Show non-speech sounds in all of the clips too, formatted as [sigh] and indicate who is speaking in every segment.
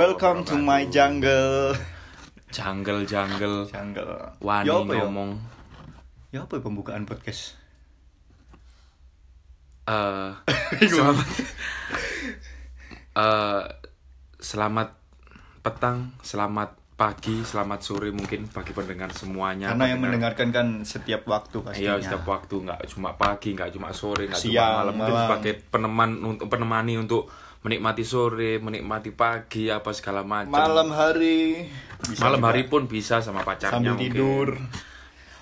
Speaker 1: Welcome to my jungle.
Speaker 2: Jungle jungle
Speaker 1: Jungle.
Speaker 2: wani
Speaker 1: Ya Iya, apa ya? [laughs]
Speaker 2: ngomong
Speaker 1: Ya apa ya pembukaan podcast?
Speaker 2: eh selamat Eh, selamat petang, selamat pagi, selamat sore mungkin bagi pendengar semuanya.
Speaker 1: Karena yang
Speaker 2: Pendengar-
Speaker 1: mendengarkan kan setiap waktu pastinya.
Speaker 2: Iya setiap waktu nggak cuma pagi, nggak cuma sore, nggak
Speaker 1: Siang,
Speaker 2: cuma malam. Mungkin
Speaker 1: malam.
Speaker 2: sebagai peneman untuk penemani untuk menikmati sore, menikmati pagi apa segala macam.
Speaker 1: Malam hari. Bisa
Speaker 2: Malam
Speaker 1: juga
Speaker 2: hari pun bisa sama pacarnya
Speaker 1: sambil
Speaker 2: mungkin.
Speaker 1: tidur.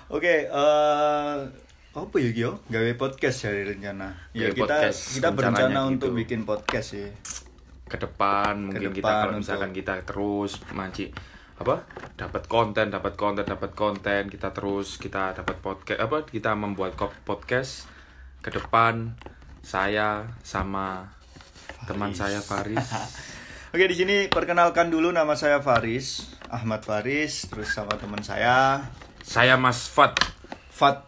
Speaker 1: Oke, eh apa ya Gio? Gawe podcast dari rencana. Ya
Speaker 2: Gawe
Speaker 1: kita
Speaker 2: podcast,
Speaker 1: kita berencana
Speaker 2: rencananya
Speaker 1: untuk
Speaker 2: gitu.
Speaker 1: bikin podcast ya. sih.
Speaker 2: ke depan mungkin kita
Speaker 1: depan
Speaker 2: kalau misalkan kita terus manci apa dapat konten dapat konten dapat konten kita terus kita dapat podcast apa kita membuat ko- podcast ke depan saya sama teman saya [laughs] Faris
Speaker 1: Oke, di sini perkenalkan dulu nama saya Faris, Ahmad Faris, terus sama teman saya
Speaker 2: saya Mas Fat
Speaker 1: Fat.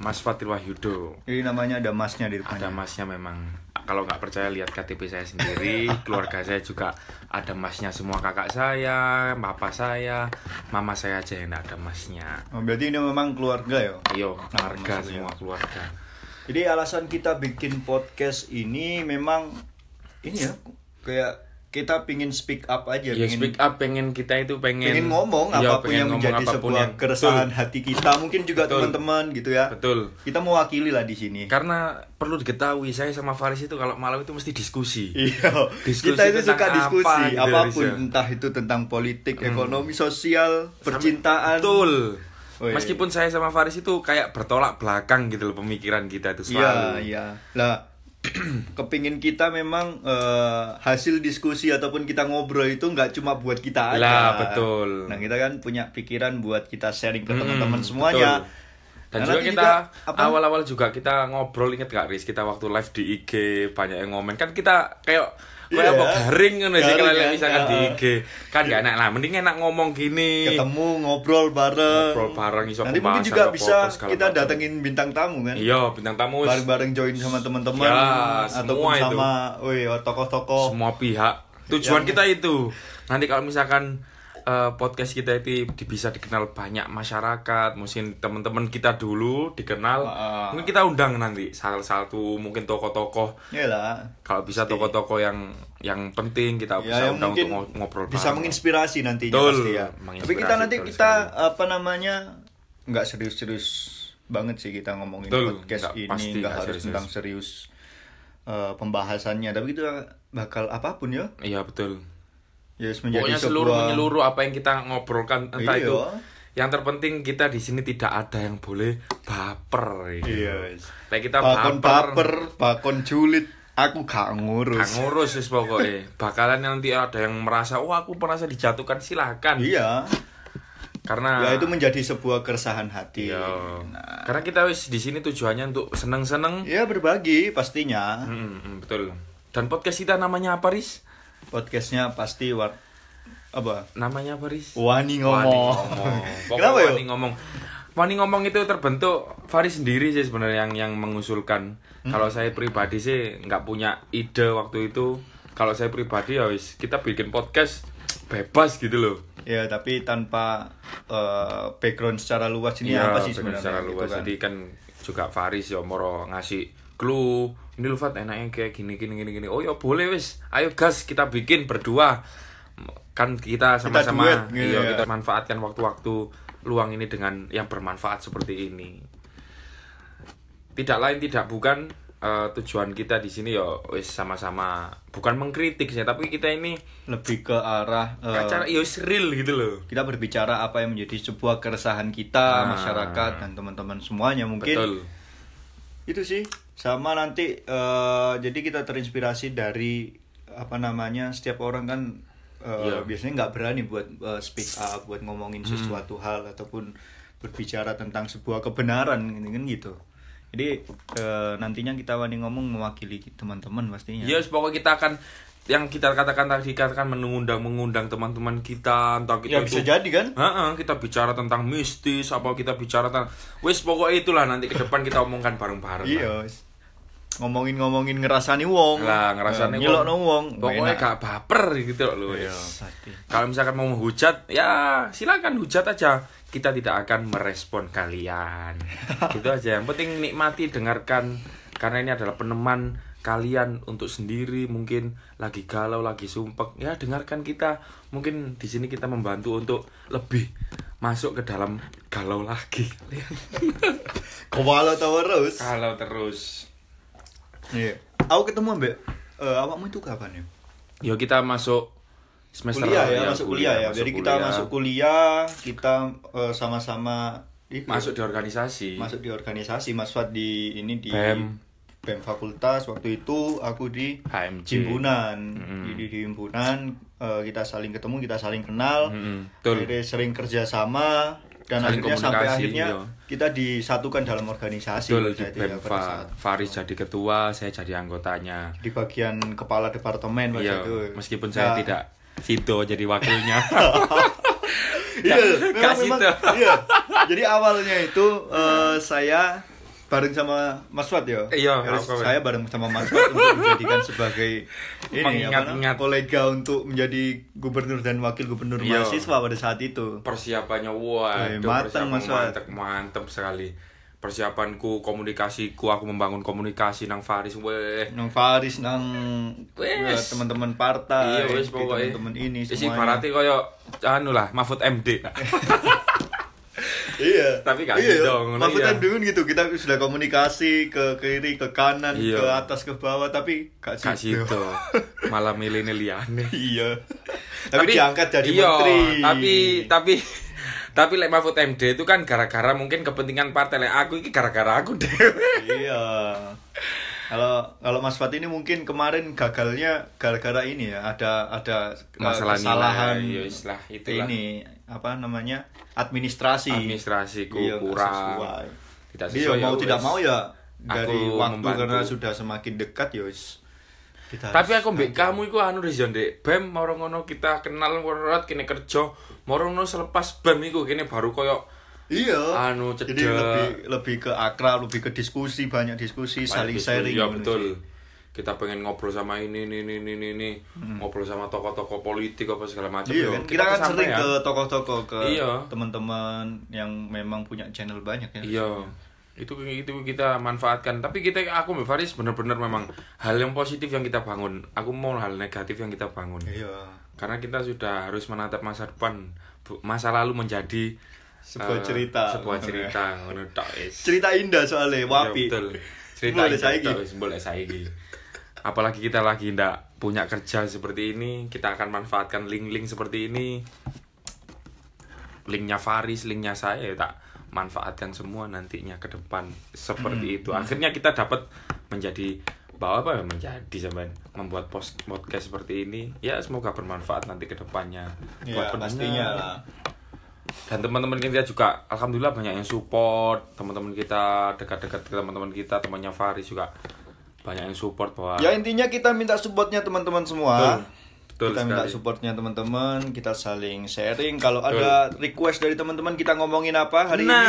Speaker 2: Mas Fatil Wahyudo
Speaker 1: Jadi namanya ada masnya di depannya.
Speaker 2: ada masnya memang kalau nggak percaya lihat KTP saya sendiri [laughs] keluarga saya juga ada masnya semua kakak saya papa saya mama saya aja yang nggak ada masnya
Speaker 1: Oh, berarti ini memang keluarga ya.
Speaker 2: Yo,
Speaker 1: Nah,
Speaker 2: keluarga
Speaker 1: maksudnya.
Speaker 2: Iya, semua keluarga.
Speaker 1: Jadi alasan kita bikin podcast ini memang ini ya kayak kita pingin speak up aja,
Speaker 2: Ya
Speaker 1: pingin
Speaker 2: speak up pengen kita itu pengen
Speaker 1: pingin ngomong
Speaker 2: Iya,
Speaker 1: apapun
Speaker 2: pengen
Speaker 1: yang
Speaker 2: ngomong
Speaker 1: menjadi
Speaker 2: apapun
Speaker 1: sebuah
Speaker 2: yang-
Speaker 1: keresahan hati kita, mungkin juga
Speaker 2: Betul.
Speaker 1: teman-teman gitu ya.
Speaker 2: Betul.
Speaker 1: Kita mewakili lah di sini.
Speaker 2: Karena perlu diketahui saya sama Faris itu kalau malam itu mesti diskusi.
Speaker 1: Iya,
Speaker 2: Diskusi
Speaker 1: kita itu
Speaker 2: tentang
Speaker 1: suka
Speaker 2: apa
Speaker 1: diskusi
Speaker 2: gitu, Hmm.
Speaker 1: apapun
Speaker 2: bisa.
Speaker 1: entah itu tentang politik, ekonomi, sosial, percintaan.
Speaker 2: Betul.
Speaker 1: Woi.
Speaker 2: Meskipun saya sama Faris itu kayak bertolak belakang gitu loh pemikiran kita
Speaker 1: Iya,
Speaker 2: itu selalu.
Speaker 1: iya. Lah, [clears throat] kepingin kita memang eh, hasil diskusi ataupun kita ngobrol itu nggak cuma buat kita aja.
Speaker 2: Lah, betul.
Speaker 1: Nah, kita kan punya pikiran buat kita sharing ke
Speaker 2: Mm,
Speaker 1: teman-teman semuanya.
Speaker 2: betul. Dan
Speaker 1: Nah,
Speaker 2: juga
Speaker 1: nanti
Speaker 2: kita
Speaker 1: juga, apa?
Speaker 2: awal-awal juga kita ngobrol inget gak Riz kita waktu live di IG banyak yang ngomen kan kita kayak
Speaker 1: Iya.
Speaker 2: kayak apa garing kan sih
Speaker 1: Garing
Speaker 2: kalau
Speaker 1: kan,
Speaker 2: misalkan di
Speaker 1: ya.
Speaker 2: IG kan gak enak lah mending enak ngomong gini
Speaker 1: Ketemu ngobrol bareng.
Speaker 2: Ngobrol bareng, iso
Speaker 1: Nanti mungkin
Speaker 2: pembahasan
Speaker 1: juga
Speaker 2: apa-apa,
Speaker 1: bisa
Speaker 2: segala
Speaker 1: kita
Speaker 2: macam.
Speaker 1: datengin bintang tamu kan.
Speaker 2: Iya, bintang tamu
Speaker 1: Bareng-bareng join sama teman-teman
Speaker 2: Ya,
Speaker 1: ataupun
Speaker 2: semua itu.
Speaker 1: sama woi tokoh-tokoh.
Speaker 2: semua pihak.
Speaker 1: Iya.
Speaker 2: Tujuan kita itu. Nanti kalau misalkan eh, podcast kita itu di- bisa dikenal banyak masyarakat, mungkin teman-teman kita dulu dikenal.
Speaker 1: Heeh.
Speaker 2: Mungkin kita undang nanti salah satu mungkin tokoh-tokoh
Speaker 1: Iya Yalah.
Speaker 2: kalau bisa tokoh-tokoh yang yang penting kita bisa
Speaker 1: ya, yang
Speaker 2: undang
Speaker 1: mungkin
Speaker 2: untuk ngo- ngobrol
Speaker 1: bisa
Speaker 2: bareng.
Speaker 1: menginspirasi nantinya
Speaker 2: Betul,
Speaker 1: pasti ya.
Speaker 2: menginspirasi,
Speaker 1: Tapi kita nanti
Speaker 2: betul
Speaker 1: kita apa namanya nggak serius-serius banget sih kita ngomongin
Speaker 2: Betul,
Speaker 1: podcast
Speaker 2: nggak-
Speaker 1: ini
Speaker 2: pasti
Speaker 1: nggak
Speaker 2: nggak
Speaker 1: harus
Speaker 2: serius-serius.
Speaker 1: tentang serius eh, pembahasannya. Tapi kita bakal apapun ya.
Speaker 2: Iya, betul.
Speaker 1: Ya yes, menjadi
Speaker 2: Pokoknya
Speaker 1: sebuah
Speaker 2: seluruh menyeluruh apa yang kita ngobrolkan entah
Speaker 1: Iya.
Speaker 2: itu. Yang terpenting kita di sini tidak ada yang boleh baper. gitu.
Speaker 1: Iya, yes.
Speaker 2: Like kita
Speaker 1: bakon
Speaker 2: baper
Speaker 1: paper, bakon julid, aku gak ngurus.
Speaker 2: Gak ngurus wis pokoknya Bakalan nanti ada yang merasa Wah aku merasa dijatuhkan silahkan
Speaker 1: Iya,
Speaker 2: Karena
Speaker 1: ya itu menjadi sebuah keresahan hati.
Speaker 2: Ah. Iya. Karena kita wis di sini tujuannya untuk seneng-seneng
Speaker 1: Ya berbagi pastinya.
Speaker 2: Mm, mm, Betul Dan podcast kita namanya apa Riz?
Speaker 1: Podcastnya pasti war apa
Speaker 2: Namanya apa Riz?
Speaker 1: Wani
Speaker 2: Wani
Speaker 1: ngomong.
Speaker 2: ngomong
Speaker 1: [laughs] Kenapa
Speaker 2: Pokoknya
Speaker 1: ya?
Speaker 2: Wani ngomong Wani ngomong itu terbentuk Faris sendiri sih sebenarnya yang yang mengusulkan.
Speaker 1: Hmm.
Speaker 2: Kalau saya pribadi sih nggak punya ide waktu itu. Kalau saya pribadi ya wis kita bikin podcast bebas gitu loh.
Speaker 1: Ya, tapi tanpa eh, background secara luas ini
Speaker 2: Iya,
Speaker 1: apa sih sebenarnya?
Speaker 2: bener, secara
Speaker 1: gitu
Speaker 2: luas.
Speaker 1: kan?
Speaker 2: Jadi kan juga Faris ya moro ngasih clue. Ini lu Fat enaknya kayak gini gini gini gini. Oh ya boleh wis. Ayo gas kita bikin berdua. Kan kita sama-sama
Speaker 1: duet, gitu
Speaker 2: iya,
Speaker 1: ya.
Speaker 2: kita manfaatkan waktu-waktu luang ini dengan yang bermanfaat seperti ini. Tidak lain tidak bukan eh, tujuan kita di sini ya wis sama-sama bukan mengkritik sih, tapi kita ini
Speaker 1: Lebih ke arah eh,
Speaker 2: acara ya wis real gitu loh.
Speaker 1: kita berbicara apa yang menjadi sebuah keresahan kita, masyarakat dan teman-teman semuanya mungkin.
Speaker 2: Ah. Betul.
Speaker 1: Itu sih. Sama nanti eh, jadi kita terinspirasi dari apa namanya? Setiap orang kan eh,
Speaker 2: Iya. Hmm.
Speaker 1: biasanya nggak berani buat eh, speak up, buat ngomongin sesuatu hal ataupun berbicara tentang sebuah kebenaran kan gitu. Jadi eh, nantinya kita wani ngomong mewakili teman-teman pastinya.
Speaker 2: Ya, yes, pokoknya kita akan yang kita katakan tadi katakan mengundang mengundang teman-teman kita entah
Speaker 1: ya
Speaker 2: kita
Speaker 1: bisa
Speaker 2: gitu, itu
Speaker 1: jadi kan
Speaker 2: Heeh, kita bicara tentang mistis apa kita bicara tentang wis pokoknya itulah nanti ke depan kita omongkan bareng-bareng.
Speaker 1: iya wes. ngomongin-ngomongin ngerasani wong.
Speaker 2: Lah,
Speaker 1: Eh,
Speaker 2: ngerasani wong.
Speaker 1: nyelokno wong. Enak.
Speaker 2: Pokoknya
Speaker 1: Iya.
Speaker 2: gak baper gitu loh ya.
Speaker 1: Sate.
Speaker 2: Kalau misalkan mau menghujat, ya silakan hujat aja. Kita tidak akan merespon
Speaker 1: [laughs]
Speaker 2: kalian. gitu aja. Yang penting nikmati, dengarkan. Karena ini adalah peneman kalian untuk sendiri mungkin lagi galau lagi sumpek ya dengarkan kita mungkin di sini kita membantu untuk lebih masuk ke dalam galau lagi
Speaker 1: [laughs] Kepala tawa terus.
Speaker 2: galau terus
Speaker 1: Iya. Aku ketemu Mbak eh, awakmu itu kapan ya?
Speaker 2: Yo kita masuk semester
Speaker 1: Kuliah ya,
Speaker 2: lalu
Speaker 1: masuk kuliah ya.
Speaker 2: masuk
Speaker 1: Jadi kita
Speaker 2: kuliah.
Speaker 1: masuk kuliah, kita eh, sama-sama di-
Speaker 2: masuk di E organisasi.
Speaker 1: masuk di organisasi, Mas Fad di ini di
Speaker 2: BEM.
Speaker 1: BEM fakultas waktu itu aku di
Speaker 2: HMJ.
Speaker 1: himpunan.
Speaker 2: Mm-mm.
Speaker 1: Jadi di himpunan eh, kita saling ketemu, kita saling kenal.
Speaker 2: Mm-mm, Mm-hmm. betul.
Speaker 1: Akhirnya sering kerjasama dan
Speaker 2: Saling
Speaker 1: akhirnya sampai
Speaker 2: komunikasi,
Speaker 1: akhirnya
Speaker 2: iya.
Speaker 1: kita disatukan dalam organisasi.
Speaker 2: Betul di E
Speaker 1: Jadi ya,
Speaker 2: BEM
Speaker 1: pada saat
Speaker 2: Fa- Faris jadi ketua, saya jadi anggotanya.
Speaker 1: di bagian kepala departemen waktu
Speaker 2: Iya,
Speaker 1: itu.
Speaker 2: meskipun saya
Speaker 1: Nah,
Speaker 2: tidak Sido jadi
Speaker 1: [laughs]
Speaker 2: wakilnya.
Speaker 1: Iya,
Speaker 2: Kak
Speaker 1: memang,
Speaker 2: Sito.
Speaker 1: memang, iya. Jadi awalnya itu eh, saya bareng sama Mas Fat ya.
Speaker 2: Iya,
Speaker 1: Harus
Speaker 2: apa, Pak?
Speaker 1: saya bareng sama Mas Fat untuk menjadikan sebagai ini apa
Speaker 2: Mengingat-ingat.
Speaker 1: namanya, kolega untuk menjadi gubernur dan wakil gubernur
Speaker 2: Iya.
Speaker 1: mahasiswa pada saat itu.
Speaker 2: Persiapannya wah,
Speaker 1: Eh, mateng, Mas Wak.
Speaker 2: mantep, mantep sekali. Persiapanku, komunikasiku, aku membangun komunikasi nang Faris. Weh.
Speaker 1: Nang Faris nang eh,
Speaker 2: Wes.
Speaker 1: teman-teman partai,
Speaker 2: Iya
Speaker 1: di
Speaker 2: wes
Speaker 1: Ah,
Speaker 2: pokoknya.
Speaker 1: teman-teman ini
Speaker 2: Isi
Speaker 1: semuanya.
Speaker 2: ibaratnya koyo anu lah, Mahfud
Speaker 1: [laughs]
Speaker 2: MD.
Speaker 1: Iya.
Speaker 2: Tapi gak
Speaker 1: iya,
Speaker 2: gitu dong, ngono
Speaker 1: Maksudnya
Speaker 2: iya.
Speaker 1: dulu gitu kita sudah komunikasi ke kiri, ke kanan, ke
Speaker 2: Iya.
Speaker 1: atas, ke bawah tapi gak
Speaker 2: Kak
Speaker 1: sido.
Speaker 2: Sido. Malah milihnya liane.
Speaker 1: iya.
Speaker 2: [laughs]
Speaker 1: Tapi, diangkat jadi menteri.
Speaker 2: iya, Tapi tapi [laughs] tapi lek Mahfud MD itu kan gara-gara mungkin kepentingan partai lek aku ini gara-gara aku [laughs] dhewe.
Speaker 1: iya. Kalau kalau Mas Fat ini mungkin kemarin gagalnya gara-gara ini ya, ada ada eh,
Speaker 2: Masalah nilai,
Speaker 1: kesalahan
Speaker 2: ya istilah itulah.
Speaker 1: ini apa namanya? administrasi.
Speaker 2: Administrasiku
Speaker 1: Iya, nggak
Speaker 2: kurang.
Speaker 1: sesuai.
Speaker 2: Tidak
Speaker 1: Iya, mau
Speaker 2: ya
Speaker 1: tidak
Speaker 2: wes.
Speaker 1: mau ya dari
Speaker 2: Aku
Speaker 1: waktu
Speaker 2: membantu.
Speaker 1: karena sudah semakin dekat ya wis. Kita
Speaker 2: Tapi
Speaker 1: harus-
Speaker 2: aku mbek kamu iku anu Rizon Dek. Bem moro ngono kita kenal werot kene kerja, moro ngono selepas bem iku kene baru koyo
Speaker 1: Iya.
Speaker 2: Anu,
Speaker 1: Jadi
Speaker 2: cedek.
Speaker 1: lebih lebih ke akrab, lebih ke diskusi, banyak diskusi, saling sharing.
Speaker 2: Iya
Speaker 1: gitu sih.
Speaker 2: betul. Kita pengen ngobrol sama ini, ini, ini, ini, ini. ngobrol sama tokoh-tokoh politik apa segala macam.
Speaker 1: Hmm. Iya
Speaker 2: Yo,
Speaker 1: kan? Kita, kan sering
Speaker 2: kesampean.
Speaker 1: ke toko-toko ke
Speaker 2: Iya.
Speaker 1: teman-teman yang memang punya channel banyak ya.
Speaker 2: Iya. Itu itu kita manfaatkan. Tapi kita aku Mbak Faris benar-benar memang hal yang positif yang kita bangun. Aku mau hal negatif yang kita bangun.
Speaker 1: Iya.
Speaker 2: Karena kita sudah harus menatap masa depan. Bu- Masa lalu menjadi
Speaker 1: Sebuah
Speaker 2: eh,
Speaker 1: cerita.
Speaker 2: Sebuah cerita ngono tok wis.
Speaker 1: Cerita indah soalnya, wapi.
Speaker 2: Iya, betul. Cerita
Speaker 1: Boleh
Speaker 2: boleh
Speaker 1: saiki.
Speaker 2: saya boleh saiki. Apalagi kita lagi ndak punya kerja seperti ini, kita akan manfaatkan link-link seperti ini. Linknya Faris, linknya saya ya tak manfaatkan semua nantinya ke depan
Speaker 1: Hmm.
Speaker 2: seperti itu. Akhirnya kita dapat menjadi bahwa apa ya, menjadi sampean membuat pos- podcast seperti ini. Ya semoga bermanfaat nanti ke depannya.
Speaker 1: Iya,
Speaker 2: pendengar
Speaker 1: pastinya lah.
Speaker 2: dan teman-teman kita juga alhamdulillah banyak yang support teman-teman kita dekat-dekat ke teman-teman kita temannya Faris juga banyak yang support bahwa
Speaker 1: Ya intinya kita minta supportnya teman-teman semua.
Speaker 2: Ah. Betul
Speaker 1: kita minta
Speaker 2: sekali.
Speaker 1: supportnya teman-teman, kita saling sharing. Kalau ada request dari teman-teman kita ngomongin apa hari
Speaker 2: Nah,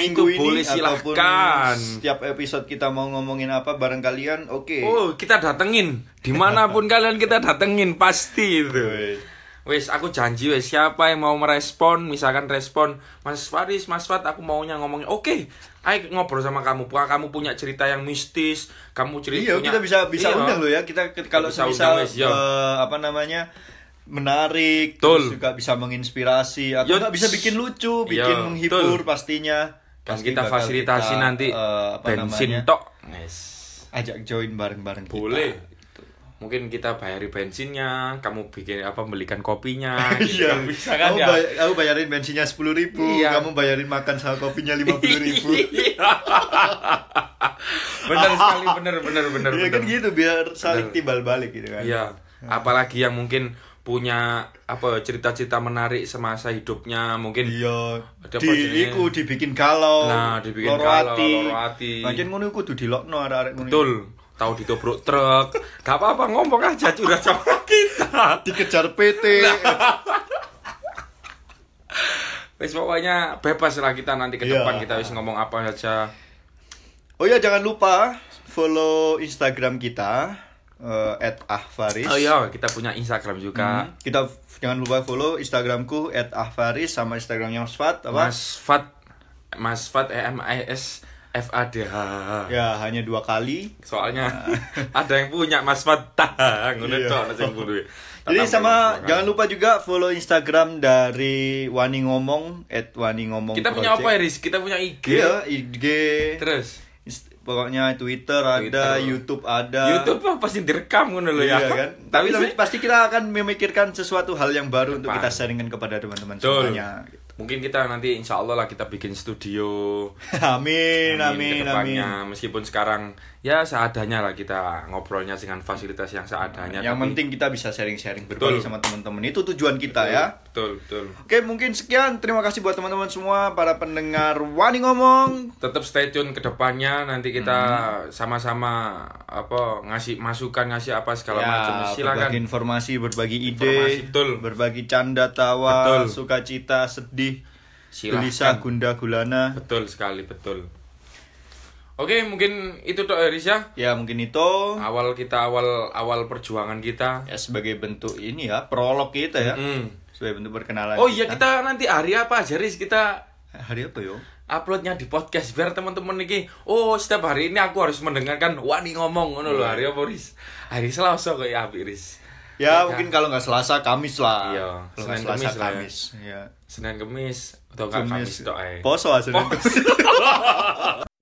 Speaker 1: ini,
Speaker 2: itu
Speaker 1: minggu ini
Speaker 2: boleh
Speaker 1: ataupun
Speaker 2: silahkan.
Speaker 1: setiap episode kita mau ngomongin apa bareng kalian, oke.
Speaker 2: oh kita datengin
Speaker 1: [laughs]
Speaker 2: dimanapun kalian kita datengin pasti itu
Speaker 1: Wes.
Speaker 2: wes aku janji wes siapa yang mau merespon misalkan respon Mas Faris Mas Fat aku maunya ngomongin oke ayo ngobrol sama kamu Wah, kamu punya cerita yang mistis kamu cerita
Speaker 1: Iya,
Speaker 2: punya-
Speaker 1: kita bisa bisa
Speaker 2: Iya.
Speaker 1: undang loh ya. Kita ke- kalau
Speaker 2: Bisa
Speaker 1: semisal
Speaker 2: undang, wes, yo.
Speaker 1: eh, apa namanya? menarik, terus
Speaker 2: Betul.
Speaker 1: juga bisa menginspirasi atau
Speaker 2: Yo,
Speaker 1: nggak bisa bikin lucu, bikin
Speaker 2: yo,
Speaker 1: menghibur
Speaker 2: betul.
Speaker 1: pastinya.
Speaker 2: Kan
Speaker 1: Pasti
Speaker 2: kita
Speaker 1: bakal
Speaker 2: fasilitasi
Speaker 1: kita,
Speaker 2: nanti
Speaker 1: eh, apa namanya,
Speaker 2: bensin tok Yes.
Speaker 1: ajak join bareng-bareng kita.
Speaker 2: boleh mungkin kita bayari bensinnya kamu bikin apa belikan kopinya
Speaker 1: [laughs]
Speaker 2: gitu
Speaker 1: Iya,
Speaker 2: kan bisa
Speaker 1: kamu
Speaker 2: kan ya
Speaker 1: bay- kamu bayarin bensinnya sepuluh ribu,
Speaker 2: Iya.
Speaker 1: kamu bayarin makan sama
Speaker 2: [laughs]
Speaker 1: kopinya lima puluh ribu. [laughs]
Speaker 2: bener sekali bener bener bener
Speaker 1: Iya
Speaker 2: bener.
Speaker 1: kan gitu biar saling timbal balik gitu kan.
Speaker 2: Iya, apalagi yang mungkin punya apa cerita-cerita menarik semasa hidupnya mungkin
Speaker 1: Iya,
Speaker 2: Ada apa
Speaker 1: di
Speaker 2: jenenge?
Speaker 1: iku dibikin galau.
Speaker 2: Nah, dibikin
Speaker 1: loro
Speaker 2: galau,
Speaker 1: ati.
Speaker 2: loro ati.
Speaker 1: Pancen ngono iku kudu dilokno arek-arek ngono. iku.
Speaker 2: betul tahu ditobrok truk gak apa-apa ngomong aja curhat sama [laughs] kita
Speaker 1: Dikejar PT.
Speaker 2: wes pokoknya bebas lah kita nanti ke
Speaker 1: Iya.
Speaker 2: depan kita wis ngomong apa saja
Speaker 1: Oh iya jangan lupa follow Instagram kita eh, at @ahfaris.
Speaker 2: Oh iya, kita punya Instagram juga.
Speaker 1: Hmm, Kita f- jangan lupa follow Instagramku @ahfaris sama Instagramnya Mas Fat apa?
Speaker 2: Mas Fat Mas Fat E M I S F A D H.
Speaker 1: Ya hanya dua kali.
Speaker 2: Soalnya ada yang punya Mas Fat [laughs] tah ngono
Speaker 1: Iya.
Speaker 2: tok nek sing kudu.
Speaker 1: Jadi
Speaker 2: Tak
Speaker 1: sama
Speaker 2: tampil.
Speaker 1: jangan lupa juga follow Instagram dari Wani Ngomong at Wani Ngomong.
Speaker 2: kita punya apa ya, Riz? Kita punya IG.
Speaker 1: Iya, IG.
Speaker 2: Terus
Speaker 1: Inst- Pokoknya Twitter ada,
Speaker 2: Twitter.
Speaker 1: YouTube ada.
Speaker 2: YouTube lah pasti direkam ngono lho ya.
Speaker 1: Ya. Iya
Speaker 2: [laughs]
Speaker 1: kan?
Speaker 2: Tapi
Speaker 1: Tapi,
Speaker 2: sih,
Speaker 1: tapi pasti kita akan memikirkan sesuatu hal yang baru untuk kita
Speaker 2: Depan.
Speaker 1: sharingkan kepada teman-teman
Speaker 2: Betul.
Speaker 1: semuanya. [laughs]
Speaker 2: Mungkin kita nanti insya Allah lah kita bikin studio
Speaker 1: amin, amin,
Speaker 2: ke
Speaker 1: amin.
Speaker 2: depannya. Meskipun sekarang ya seadanya lah kita ngobrolnya dengan fasilitas yang seadanya
Speaker 1: Yang
Speaker 2: tapi-
Speaker 1: penting kita bisa sharing-sharing berbagi
Speaker 2: Betul.
Speaker 1: sama teman-teman. Itu tujuan kita ya.
Speaker 2: Betul, betul
Speaker 1: Oke, mungkin sekian. Terima kasih buat teman-teman semua para pendengar Wani Ngomong.
Speaker 2: tetap stay tune ke depannya nanti kita
Speaker 1: Hmm.
Speaker 2: sama-sama apa ngasih masukan ngasih apa segala
Speaker 1: ya,
Speaker 2: macam silakan
Speaker 1: berbagi informasi, berbagi ide,
Speaker 2: Informasi, betul.
Speaker 1: berbagi canda tawa,
Speaker 2: Betul.
Speaker 1: sukacita, sedih,
Speaker 2: Silakan.
Speaker 1: gelisah, gundah gulana.
Speaker 2: betul sekali betul oke mungkin itu toh Eris ya
Speaker 1: Ya, mungkin itu
Speaker 2: awal kita awal awal perjuangan kita
Speaker 1: ya sebagai bentuk ini ya, prolog kita ya.
Speaker 2: Hmm.
Speaker 1: Sebagai bentuk perkenalan.
Speaker 2: oh iya kita nanti hari apa aja Riz kita
Speaker 1: Hari apa yo?
Speaker 2: uploadnya di podcast biar teman-teman ini oh setiap hari ini aku harus mendengarkan wani ngomong ngono loh hari apa Riz hari Selasa kok ya Abi, Riz
Speaker 1: Ya, mungkin kalau nggak Selasa, Kamis lah.
Speaker 2: Iya,
Speaker 1: kalau nggak
Speaker 2: Senin,
Speaker 1: Selasa,
Speaker 2: Kamis lah ya.
Speaker 1: Kamis. Ya.
Speaker 2: Senin Kemis atau nggak Kamis tok ae.
Speaker 1: Poso lah Senin. Kamis.